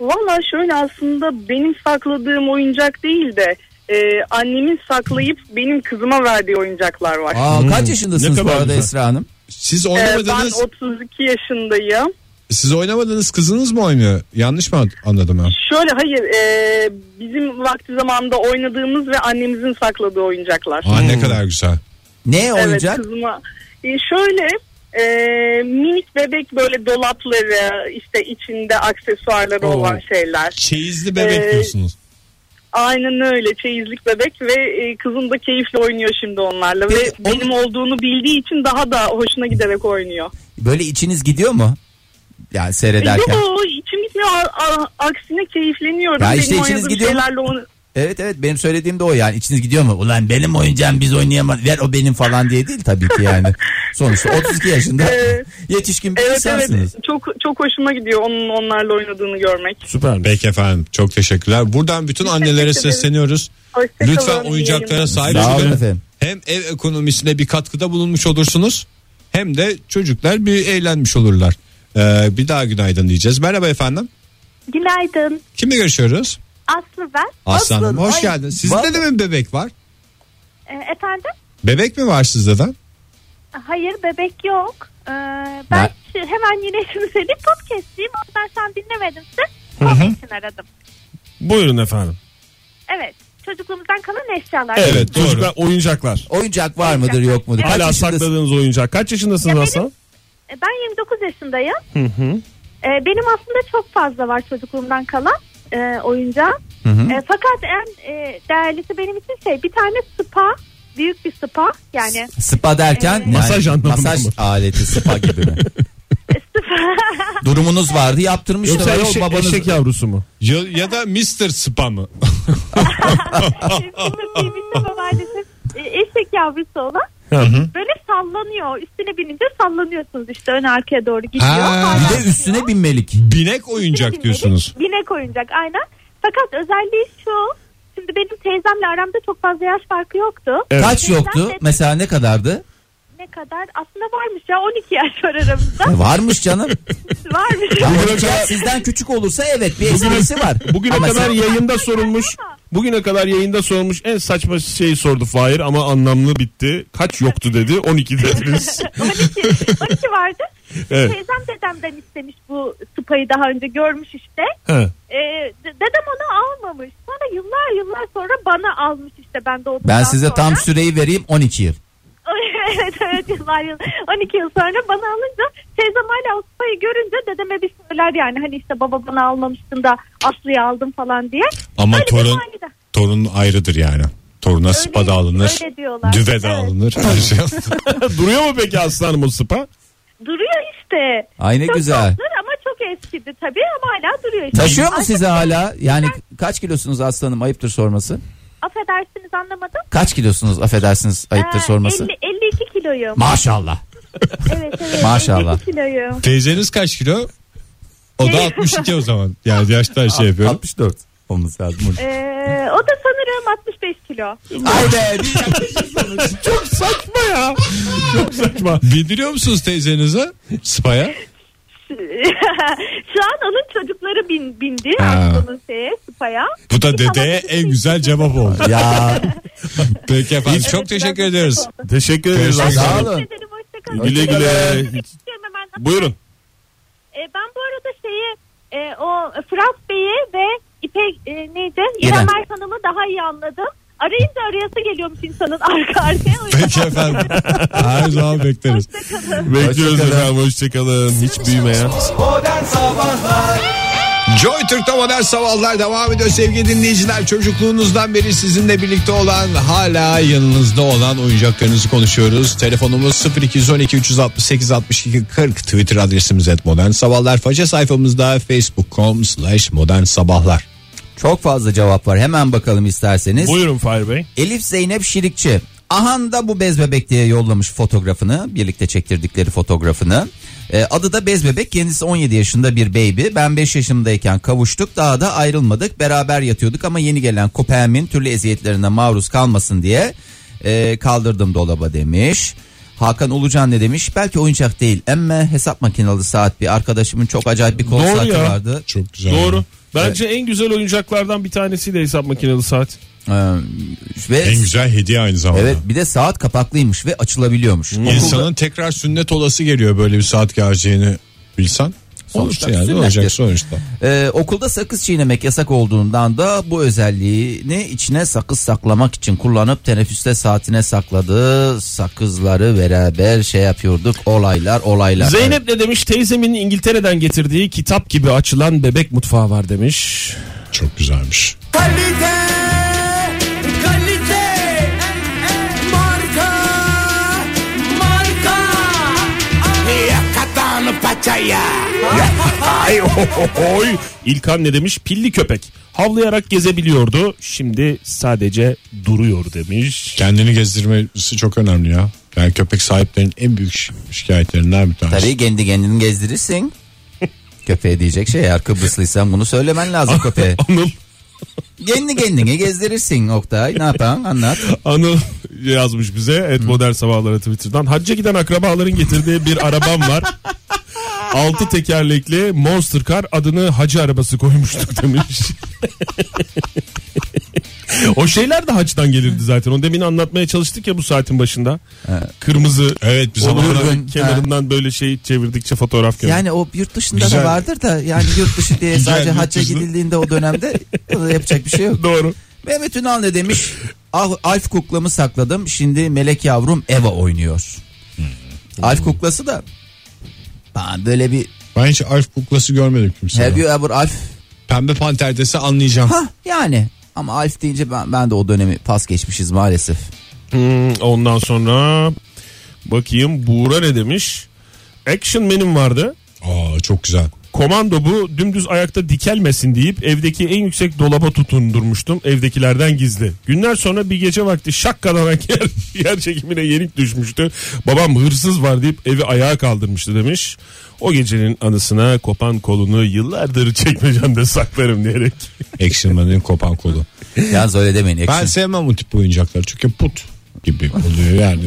E: Valla şöyle aslında benim sakladığım oyuncak değil de e, annemin saklayıp benim kızıma verdiği oyuncaklar var.
B: Aa, kaç yaşındasınız bu
C: Ne kadar
B: arada
C: güzel.
B: Esra Hanım?
A: Siz
E: E,
A: oynamadınız.
E: ben 32 yaşındayım.
A: Siz oynamadınız kızınız mı oynuyor? Yanlış mı anladım ben?
E: Şöyle hayır e, bizim vakti zamanında oynadığımız ve annemizin sakladığı oyuncaklar.
A: Aa ne kadar güzel.
B: Ne
E: evet
B: oyuncak?
E: kızıma. E, şöyle e, minik bebek böyle dolapları işte içinde aksesuarları olan şeyler.
A: Çeyizli bebek
E: Ee,
A: diyorsunuz.
E: Aynen öyle çeyizlik bebek ve e, kızım da keyifle oynuyor şimdi onlarla
B: Peki,
E: ve
B: onu-
E: benim olduğunu bildiği için daha da hoşuna giderek oynuyor.
B: Böyle içiniz gidiyor mu? Yani seyrederken.
E: Yok içim gitmiyor A- a- aksine keyifleniyorum.
B: Ya işte
E: benim
B: içiniz
E: oynadığım
B: gidiyor mu?
E: şeylerle onu...
B: Evet evet benim söylediğim de o yani. İçiniz gidiyor mu? Ulan benim oyuncağım biz oynayamadık. Ver o benim falan diye değil tabii ki yani. Sonuçta 32 yaşında
E: Evet.
B: yetişkin bir
E: Evet
B: insansınız.
E: evet çok çok hoşuma gidiyor onun onlarla oynadığını görmek.
C: Süper.
A: Peki efendim çok teşekkürler. Buradan bütün annelere
E: teşekkür ederim.
A: sesleniyoruz.
E: Hoşçakalın,
A: Lütfen
E: iyi
A: oyuncaklara
E: yayınlar.
A: sahip
B: Sağ olun
A: çıkın.
B: efendim.
A: Hem ev ekonomisine bir katkıda bulunmuş olursunuz hem de çocuklar bir eğlenmiş olurlar. Ee, bir daha günaydın diyeceğiz. Merhaba efendim.
F: Günaydın.
A: Kimle görüşüyoruz?
F: Aslı ben.
A: Aslı Hanım hoş
B: ay,
A: geldin. Sizde
B: vallahi-
A: de mi bebek var?
F: Ee, efendim?
A: Bebek mi var sizde de?
F: Hayır bebek yok. Ee, ben
B: Ben-
F: şu- hemen yine şunu söyleyeyim. Podcast'ciyim. O yüzden şu an dinlemedim siz. Onun için aradım.
C: Buyurun efendim.
F: Evet. Çocukluğumuzdan kalan eşyalar.
C: Evet,
A: Evet, doğru.
C: çocuklar oyuncaklar.
B: Oyuncak var mıdır yok mudur? Kaç
C: Hala
B: yaşındasın?
C: sakladığınız oyuncak. Kaç yaşındasınız
F: Efendim?
C: Hasan?
F: Ee, Ben 29 yaşındayım. Ee, benim aslında çok fazla var çocukluğumdan kalan e, oyuncağım. Ee, fakat en e, değerlisi benim için şey bir tane spa. Büyük bir spa. Yani
B: Spa derken yani
C: Masaj anlamında
B: masaj
C: mı?
B: aleti spa gibi mi? Durumunuz vardı yaptırmıştır.
C: Yoksa
B: Ayol
C: eşek,
B: babanız-
C: eşek yavrusu mu?
A: Ya, ya da Mr. Spa mı?
F: Bizim birbirimizde babaannesi e, eşek yavrusu olan böyle sallanıyor. Üstüne binince sallanıyorsunuz işte ön arkaya doğru gidiyor.
A: Ha,
F: Hala
B: Bir de üstüne binmelik.
A: Binek oyuncak diyorsunuz.
F: Binek oyuncak aynen. Fakat özelliği şu. Şimdi benim teyzemle aramda çok fazla yaş farkı yoktu.
C: Evet.
B: Kaç yoktu? Mesela ne kadardı?
F: Ne kadar? Aslında varmış ya 12 yaş var aramızda.
B: E, varmış canım.
F: varmış.
B: Ya
C: Bugüne
B: oyuncak
C: kadar-
B: sizden küçük olursa evet bir esprisi var.
C: Bugüne
B: Ama
C: kadar
B: sen-
C: yayında sorulmuş. Bugüne kadar yayında sorulmuş en saçma şeyi sordu Fahir ama anlamlı bitti. Kaç yoktu dedi 12 dediniz.
F: 12, 12 vardı.
C: Evet.
F: Teyzem dedemden istemiş bu sıpayı daha önce görmüş işte.
C: He.
F: Ee, d- dedem onu almamış. Sonra yıllar yıllar sonra bana almış işte ben doğduktan
B: Ben size
F: sonra.
B: tam süreyi vereyim 12 yıl.
F: evet evet yıllar yıl 12 yıl sonra bana alınca teyzem hala o sıpayı görünce dedeme bir söyler yani hani işte baba bana almamıştın da Aslı'yı aldım falan diye.
A: Ama
F: Öyle bir
A: torun
F: manide.
A: torun ayrıdır yani. Toruna spa da alınır.
F: öyle diyorlar.
A: Düve de
F: Evet.
A: alınır. Her şey alınır.
C: Duruyor mu peki aslanım o sıpa?
F: Duruyor işte.
B: Ay ne
F: çok
B: güzel.
F: azdır ama çok eskidi tabii ama hala duruyor işte.
B: Taşıyor mu
F: Artık-
B: size hala? Yani kaç kilosunuz aslanım ayıptır sorması.
F: Affedersiniz anlamadım.
B: Kaç kilosunuz affedersiniz ayıptır
F: Ee,
B: sorması.
F: 50, 52 kiloyum.
B: Maşallah.
F: evet evet.
B: Maşallah.
F: 52 kiloyum.
A: Teyzeniz kaç kilo? O da 62 o zaman. Yani yaştan şey yapıyorum.
B: 64 olması lazım.
F: Ee, o da sanırım 65 kilo.
B: Ay be biz-
C: Çok saçma ya. Çok saçma.
A: Bindiriyor musunuz teyzenize spa'ya?
F: Şu an onun çocukları bin, bindi.
A: Ha.
F: artık Onun şeye, spaya.
A: Bu da
F: Bir
G: şey
F: tane
A: dedeye
F: kız
A: en
F: bir
A: güzel cevap oldu.
B: ya
A: Peki efendim
F: Evet,
A: çok teşekkür
F: ben-
A: ederiz.
C: Teşekkür ederiz
A: Görüşmek üzere.
C: aslanım.
B: sağ olun.
F: Teşekkür ederim, hoşça kalın.
C: Güle güle.
F: Hemen-
C: Buyurun.
F: Ee, ben bu arada şeyi
G: e, o Fırat Bey'i ve İpek e, neydi?
B: İrem.
G: İrem Erkan'ımı daha iyi anladım. Arayınca arayası geliyormuş insanın arka arkaya. O yüzden
A: Peki efendim. Her zaman bekleriz.
C: Bekliyoruz efendim hoşçakalın. Hiç büyümeyen.
D: Modern Sabahlar
A: Joy Türk'te modern sabahlar devam ediyor sevgili dinleyiciler. Çocukluğunuzdan beri sizinle birlikte olan hala yanınızda olan oyuncaklarınızı konuşuyoruz. Telefonumuz 0212 368 62 40 Twitter adresimiz et modern sabahlar. Faça sayfamızda facebook.com slash modern sabahlar.
B: Çok fazla cevap var. Hemen bakalım isterseniz.
C: Buyurun Fahir Bey.
B: Elif Zeynep Şirikçi. Ahan da bu bez bebek diye yollamış fotoğrafını. Birlikte çektirdikleri fotoğrafını. Ee, adı da bez bebek. Kendisi 17 yaşında bir baby. Ben 5 yaşımdayken kavuştuk. Daha da ayrılmadık. Beraber yatıyorduk ama yeni gelen köpeğimin türlü eziyetlerine maruz kalmasın diye e, kaldırdım dolaba demiş. Hakan Ulucan ne demiş? Belki oyuncak değil ama hesap makinalı saat bir arkadaşımın çok acayip bir kol
C: Doğru
B: saati
C: ya.
B: vardı.
A: Çok güzel.
C: Doğru. Bence en güzel oyuncaklardan bir tanesi de hesap makineli saat.
B: Ee, ve
A: güzel hediye aynı zamanda.
B: Evet bir de saat kapaklıymış ve açılabiliyormuş. Okulda-
A: İnsanın tekrar sünnet olası geliyor böyle bir saat geleceğini bilsen.
B: Sonuçta
A: Sonuçta yani
B: sünnettir.
A: olacak sonuçta.
B: Ee, okulda sakız çiğnemek yasak olduğundan da bu özelliğini içine sakız saklamak için kullanıp teneffüste saatine sakladığı sakızları beraber şey yapıyorduk olaylar olaylar.
C: Zeynep ne demiş? Teyzemin İngiltere'den getirdiği kitap gibi açılan bebek mutfağı var demiş.
A: Çok güzelmiş.
D: Kalite Kalite Marka Marka Yakatan paçaya
C: Ay oy. İlkan ne demiş? Pilli köpek. Havlayarak gezebiliyordu. Şimdi sadece duruyor demiş.
A: Kendini gezdirmesi çok önemli ya. Yani köpek sahiplerinin en büyük şi- şikayetlerinden bir tanesi.
B: Tabii kendi kendini gezdirirsin. Köpeğe diyecek şey eğer Kıbrıslıysan bunu söylemen lazım köpeğe.
C: Anıl,
B: Kendi kendini gezdirirsin Oktay ne yapan anlat.
C: Anıl yazmış bize. Et modern sabahları Twitter'dan. Hacca giden akrabaların getirdiği bir arabam var. Altı tekerlekli Monster Car adını hacı arabası koymuştuk demiş. o şeyler de hacdan gelirdi zaten. Onu demin anlatmaya çalıştık ya bu saatin başında. Kırmızı
A: Evet biz ama
C: Olur,
B: Olurgun,
C: kenarından böyle şey çevirdikçe fotoğraf görüyoruz.
B: Yani o yurt dışında
A: Güzel.
B: da vardır da yani yurt dışı diye
A: Güzel,
B: sadece
A: yurt
B: hacca
A: dışında.
B: gidildiğinde o dönemde yapacak bir şey yok.
C: Doğru.
B: Mehmet Ünal ne demiş? Ah, Alf kuklamı sakladım. Şimdi melek yavrum Eva oynuyor.
A: Hmm.
B: Alf kuklası da ben böyle bir
A: ben hiç Alf kuklası görmedim kimseye.
B: have you ever Alf?
A: Pembe panter dese anlayacağım.
B: Hah yani ama Alf deyince ben, ben de o dönemi pas geçmişiz maalesef.
C: Hmm, ondan sonra bakayım Buğra ne demiş? Action Man'im vardı.
A: Aa çok güzel.
C: Komando bu dümdüz ayakta dikelmesin deyip evdeki en yüksek dolaba tutundurmuştum evdekilerden gizli. Günler sonra bir gece vakti şakkalanak yer, yer çekimine yenik düşmüştü. Babam hırsız var deyip evi ayağa kaldırmıştı demiş. O gecenin anısına kopan kolunu yıllardır çekmecemde saklarım diyerek.
A: Action Man'in kopan kolu.
B: Yalnız öyle demeyin.
A: Ben
B: Action.
A: sevmem o tip oyuncakları çünkü put gibi oluyor yani.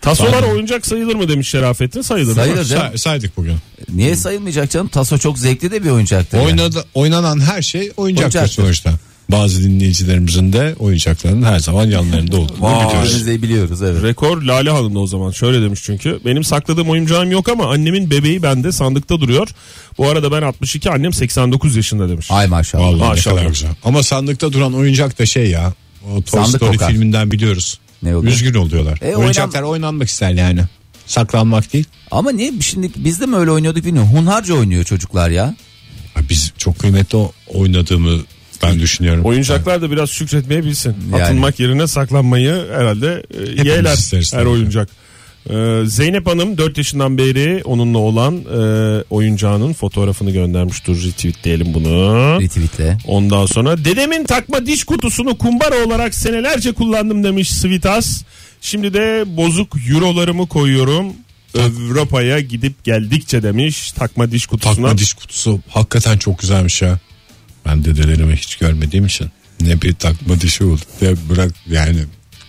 C: Tasolar oyuncak sayılır mı demiş Şerafettin sayılır.
B: Sayılır. Güzel.
A: Say- saydık bugün.
B: Niye sayılmayacak canım? Taso çok zevkli de bir oyuncaktır. yani.
A: Oynadı, oynanan her şey oyuncaktır,
B: Oyuncaktır.
A: sonuçta. Bazı dinleyicilerimizin de oyuncaklarının her zaman yanlarında olduğunu
B: Vay.
A: biliyoruz.
B: Biz de biliyoruz evet.
C: Rekor Lale Hanım'da o zaman şöyle demiş çünkü benim sakladığım oyuncağım yok ama annemin bebeği bende sandıkta duruyor. Bu arada ben 62 annem 89 yaşında demiş.
B: Ay maşallah.
A: Vallahi ne
C: Maşallah.
A: kadar güzel. Ama sandıkta duran oyuncak da şey ya. O Toy
B: Sandık
A: Story
B: kokar.
A: filminden biliyoruz.
B: Ne oluyor?
A: Üzgün oluyorlar.
B: E,
A: Oyuncaklar oynanmak ister yani. Saklanmak değil.
B: Ama niye şimdi biz de mi öyle oynuyorduk bilmiyorum. Hunharca oynuyor çocuklar ya.
A: Ha, Biz çok kıymetli o- oynadığımı ben düşünüyorum.
C: Oyuncaklar da biraz şükretmeye bilsin.
B: Yani.
C: Atılmak yerine saklanmayı herhalde e, yeğler
A: isteriz
C: her
A: tabii.
C: oyuncak. Ee, Zeynep Hanım 4 yaşından beri onunla olan e, oyuncağının fotoğrafını göndermiş. Dur retweetleyelim bunu.
B: Retweetle.
C: Ondan sonra dedemin takma diş kutusunu kumbara olarak senelerce kullandım demiş Svitas. Şimdi de bozuk eurolarımı koyuyorum. Avrupa'ya gidip geldikçe demiş takma diş kutusuna.
A: Takma diş kutusu hakikaten çok güzelmiş ya. Ben dedelerimi hiç görmediğim için ne bir takma dişi oldu ne bırak yani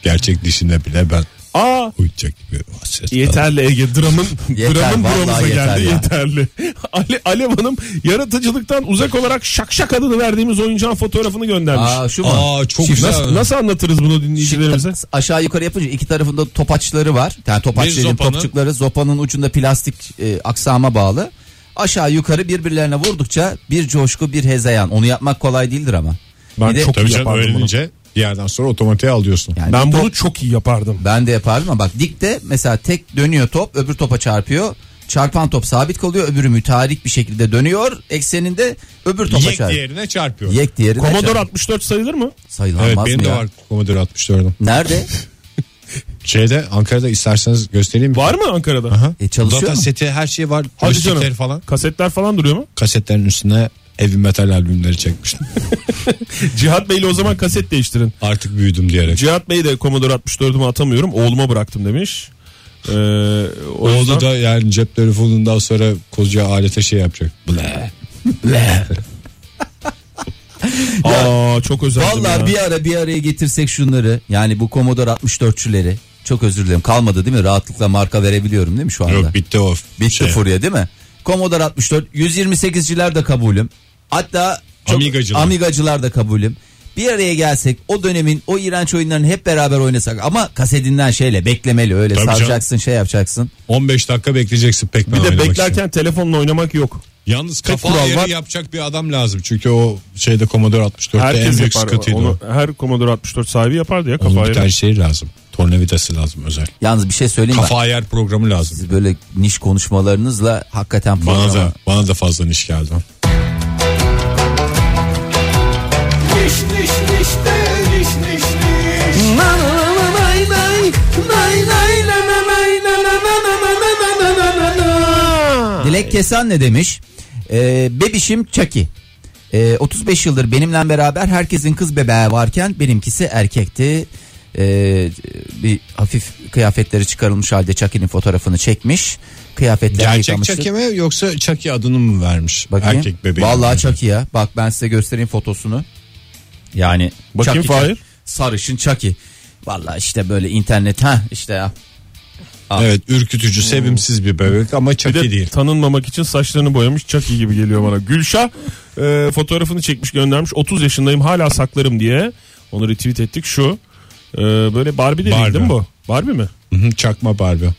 A: gerçek dişine bile ben
C: Aa
A: oyuncak gibi hasret
C: yeterli Ege dramın
B: Yeter,
C: dramın
B: vallahi
C: buramıza
B: yeter
C: geldi
B: ya.
C: yeterli. Ali Alev Hanım yaratıcılıktan uzak olarak şakşak adını verdiğimiz oyuncağın fotoğrafını göndermiş.
B: Aa şu mu?
A: Aa çok
B: Şif-
A: güzel.
C: Nasıl, nasıl anlatırız bunu dinleyicilerimize?
B: Şık- aşağı yukarı yapınca iki tarafında topaçları var. Yani topaç
A: Bir
B: dediğim
A: zopanın-
B: topçukları zopanın ucunda plastik e, aksama bağlı. aşağı yukarı birbirlerine vurdukça bir coşku bir hezeyan. Onu yapmak kolay değildir ama.
A: Ben
B: Bir de-
A: çok tabii canım
C: yapardım bunu.
A: öğrenince bir yerden sonra otomatiğe alıyorsun.
B: Yani
C: Ben
B: bir top-
C: bunu çok iyi yapardım.
B: ben de yapardım ama bak dikte mesela tek dönüyor top öbür topa çarpıyor. Çarpan top sabit kalıyor öbürü müteahhit bir şekilde dönüyor ekseninde öbür topa
A: Yek
B: çarpıyor.
A: diğerine çarpıyor.
B: Yek diğeri
C: Commodore 64 sayılır mı?
B: sayılamaz
A: Evet
B: mı
A: benim de
B: ya?
A: var Commodore 64'üm.
B: Nerede? E,
A: Şeyde Ankara'da isterseniz göstereyim.
C: Var mı Ankara'da?
B: E, çalışıyor
A: Zaten
B: mu?
A: seti her şey var.
C: Hadi
A: Hadi
C: canım.
A: falan.
C: Kasetler falan duruyor mu?
A: Kasetlerin üstüne heavy metal albümleri çekmiştim.
C: Cihat Bey'le o zaman kaset değiştirin.
A: Artık büyüdüm diyerek.
C: Cihat Bey de Commodore 64'ümü atamıyorum. Oğluma bıraktım demiş. Ee, o yüzden-
A: Oldu da yani cep telefonundan sonra koca alete şey yapacak. Ble.
C: Aa, çok özeldim
B: Vallahi
C: ya.
B: bir ara bir araya getirsek şunları yani bu Commodore 64'çüleri çok özür dilerim kalmadı değil mi? Rahatlıkla marka verebiliyorum değil mi şu anda?
A: Yok bitti o.
B: Bitti
A: şey.
B: furya değil mi? Commodore 64 128'ciler de kabulüm. Hatta çok-
A: Amigacılar.
B: Amigacılar da kabulüm. Bir araya gelsek o dönemin o iğrenç oyunlarını hep beraber oynasak ama kasetinden şeyle beklemeli öyle
A: Tabii canım.
B: saracaksın şey yapacaksın.
A: 15 dakika bekleyeceksin pek
C: Bir de beklerken telefonla oynamak yok.
A: Yalnız kafa
C: kural
A: yeri
C: var.
A: yapacak bir adam lazım. Çünkü o şeyde Commodore 64'te en
C: Herkes
A: büyük
C: yapar.
A: sıkıntıydı
C: Onu,
A: o.
C: her Commodore 64 sahibi yapardı ya
A: Onun bir
C: kafayı.
A: tane şey lazım. Tornavidası lazım özel.
B: Yalnız bir şey söyleyeyim
A: Kafa
B: bak.
A: ayar programı lazım.
B: Siz böyle niş konuşmalarınızla hakikaten
A: Bana
B: programa-
A: da bana da fazla niş geldi.
D: Niş niş niş de niş niş niş.
B: Dilek Kesan ne demiş? Ee, bebişim Çaki. Ee, 35 yıldır benimle beraber herkesin kız bebeği varken benimkisi erkekti. Ee, bir hafif kıyafetleri çıkarılmış halde Çaki'nin fotoğrafını çekmiş. Kıyafetleri
A: Gerçek
B: yıkamıştı.
A: Chucky mi yoksa Chucky adını mı vermiş?
B: Bakayım.
A: Erkek bebeği.
B: Vallahi Çaki ya. Bak ben size göstereyim fotosunu. Yani
C: Bakayım
B: Chucky,
C: Fahir.
B: Sarışın Çaki. Vallahi işte böyle internet ha işte ya.
A: Evet ürkütücü sevimsiz Hmm. bir bebek ama
C: Bir
A: Chucky
C: de
A: şey değil.
C: tanınmamak için saçlarını boyamış Chucky gibi geliyor bana. Gülşah e, fotoğrafını çekmiş göndermiş. 30 yaşındayım hala saklarım diye. Onu retweet ettik şu. e, böyle Barbie de değil,
A: Barbie.
C: değil mi bu? Barbie mi?
A: Hı hı, Çakma Barbie.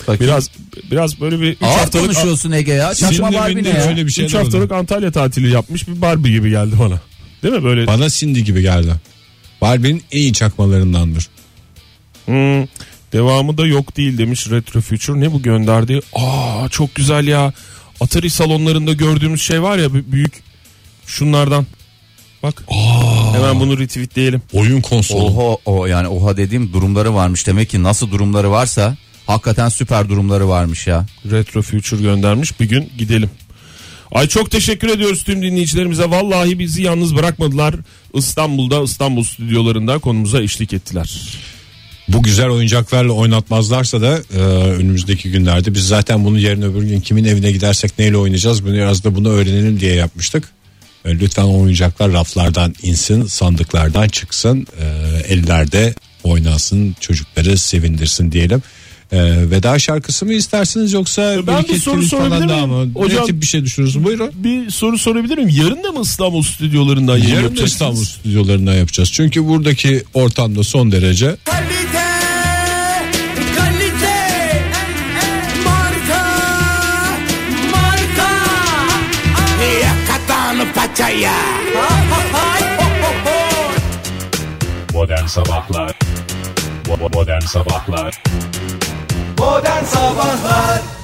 B: Bakayım.
C: Biraz biraz böyle bir 3
B: Ağır
C: haftalık
B: konuşuyorsun Ege ya. Çakma
A: Sinirli
B: Barbie ne
A: minnet
B: ya?
A: öyle bir
C: üç
A: şey
C: haftalık Antalya tatili yapmış bir Barbie gibi geldi bana. Değil mi böyle?
A: Bana Cindy gibi geldi. Barbie'nin en iyi çakmalarındandır.
C: Hmm, devamı da yok değil demiş Retro Future. Ne bu gönderdiği? Aa çok güzel ya. Atari salonlarında gördüğümüz şey var ya b- büyük şunlardan. Bak. Hemen bunu retweetleyelim.
A: Oyun konsolu.
B: Oha o yani oha dediğim durumları varmış demek ki nasıl durumları varsa hakikaten süper durumları varmış ya.
C: Retro Future göndermiş. Bir gün gidelim. Ay çok teşekkür ediyoruz tüm dinleyicilerimize. Vallahi bizi yalnız bırakmadılar. İstanbul'da İstanbul stüdyolarında konumuza eşlik ettiler.
A: Bu güzel oyuncaklarla oynatmazlarsa da e, önümüzdeki günlerde biz zaten bunu yarın öbür gün kimin evine gidersek neyle oynayacağız bunu biraz da bunu öğrenelim diye yapmıştık. E, lütfen o oyuncaklar raflardan insin, sandıklardan çıksın, e, ellerde oynansın, çocukları sevindirsin diyelim. E, veda şarkısı mı istersiniz yoksa
C: Ben bir
A: iki
C: soru
A: tweet
C: sorabilir
A: falan daha
C: miyim?
A: mı?
C: Hocam-
A: Ne tip bir şey düşünüyorsunuz? Buyurun.
C: Bir soru sorabilir miyim? Yarın da mı İstanbul stüdyolarından yayın
A: Yarın da
C: yapacaksınız?
A: İstanbul stüdyolarından yapacağız. Çünkü buradaki ortamda son derece
D: Kalite, kalite. Marka, marka. Yakatan paçaya.
H: Modern Sabahlar Bo- bo- Modern Sabahlar
D: Modern Sabahlar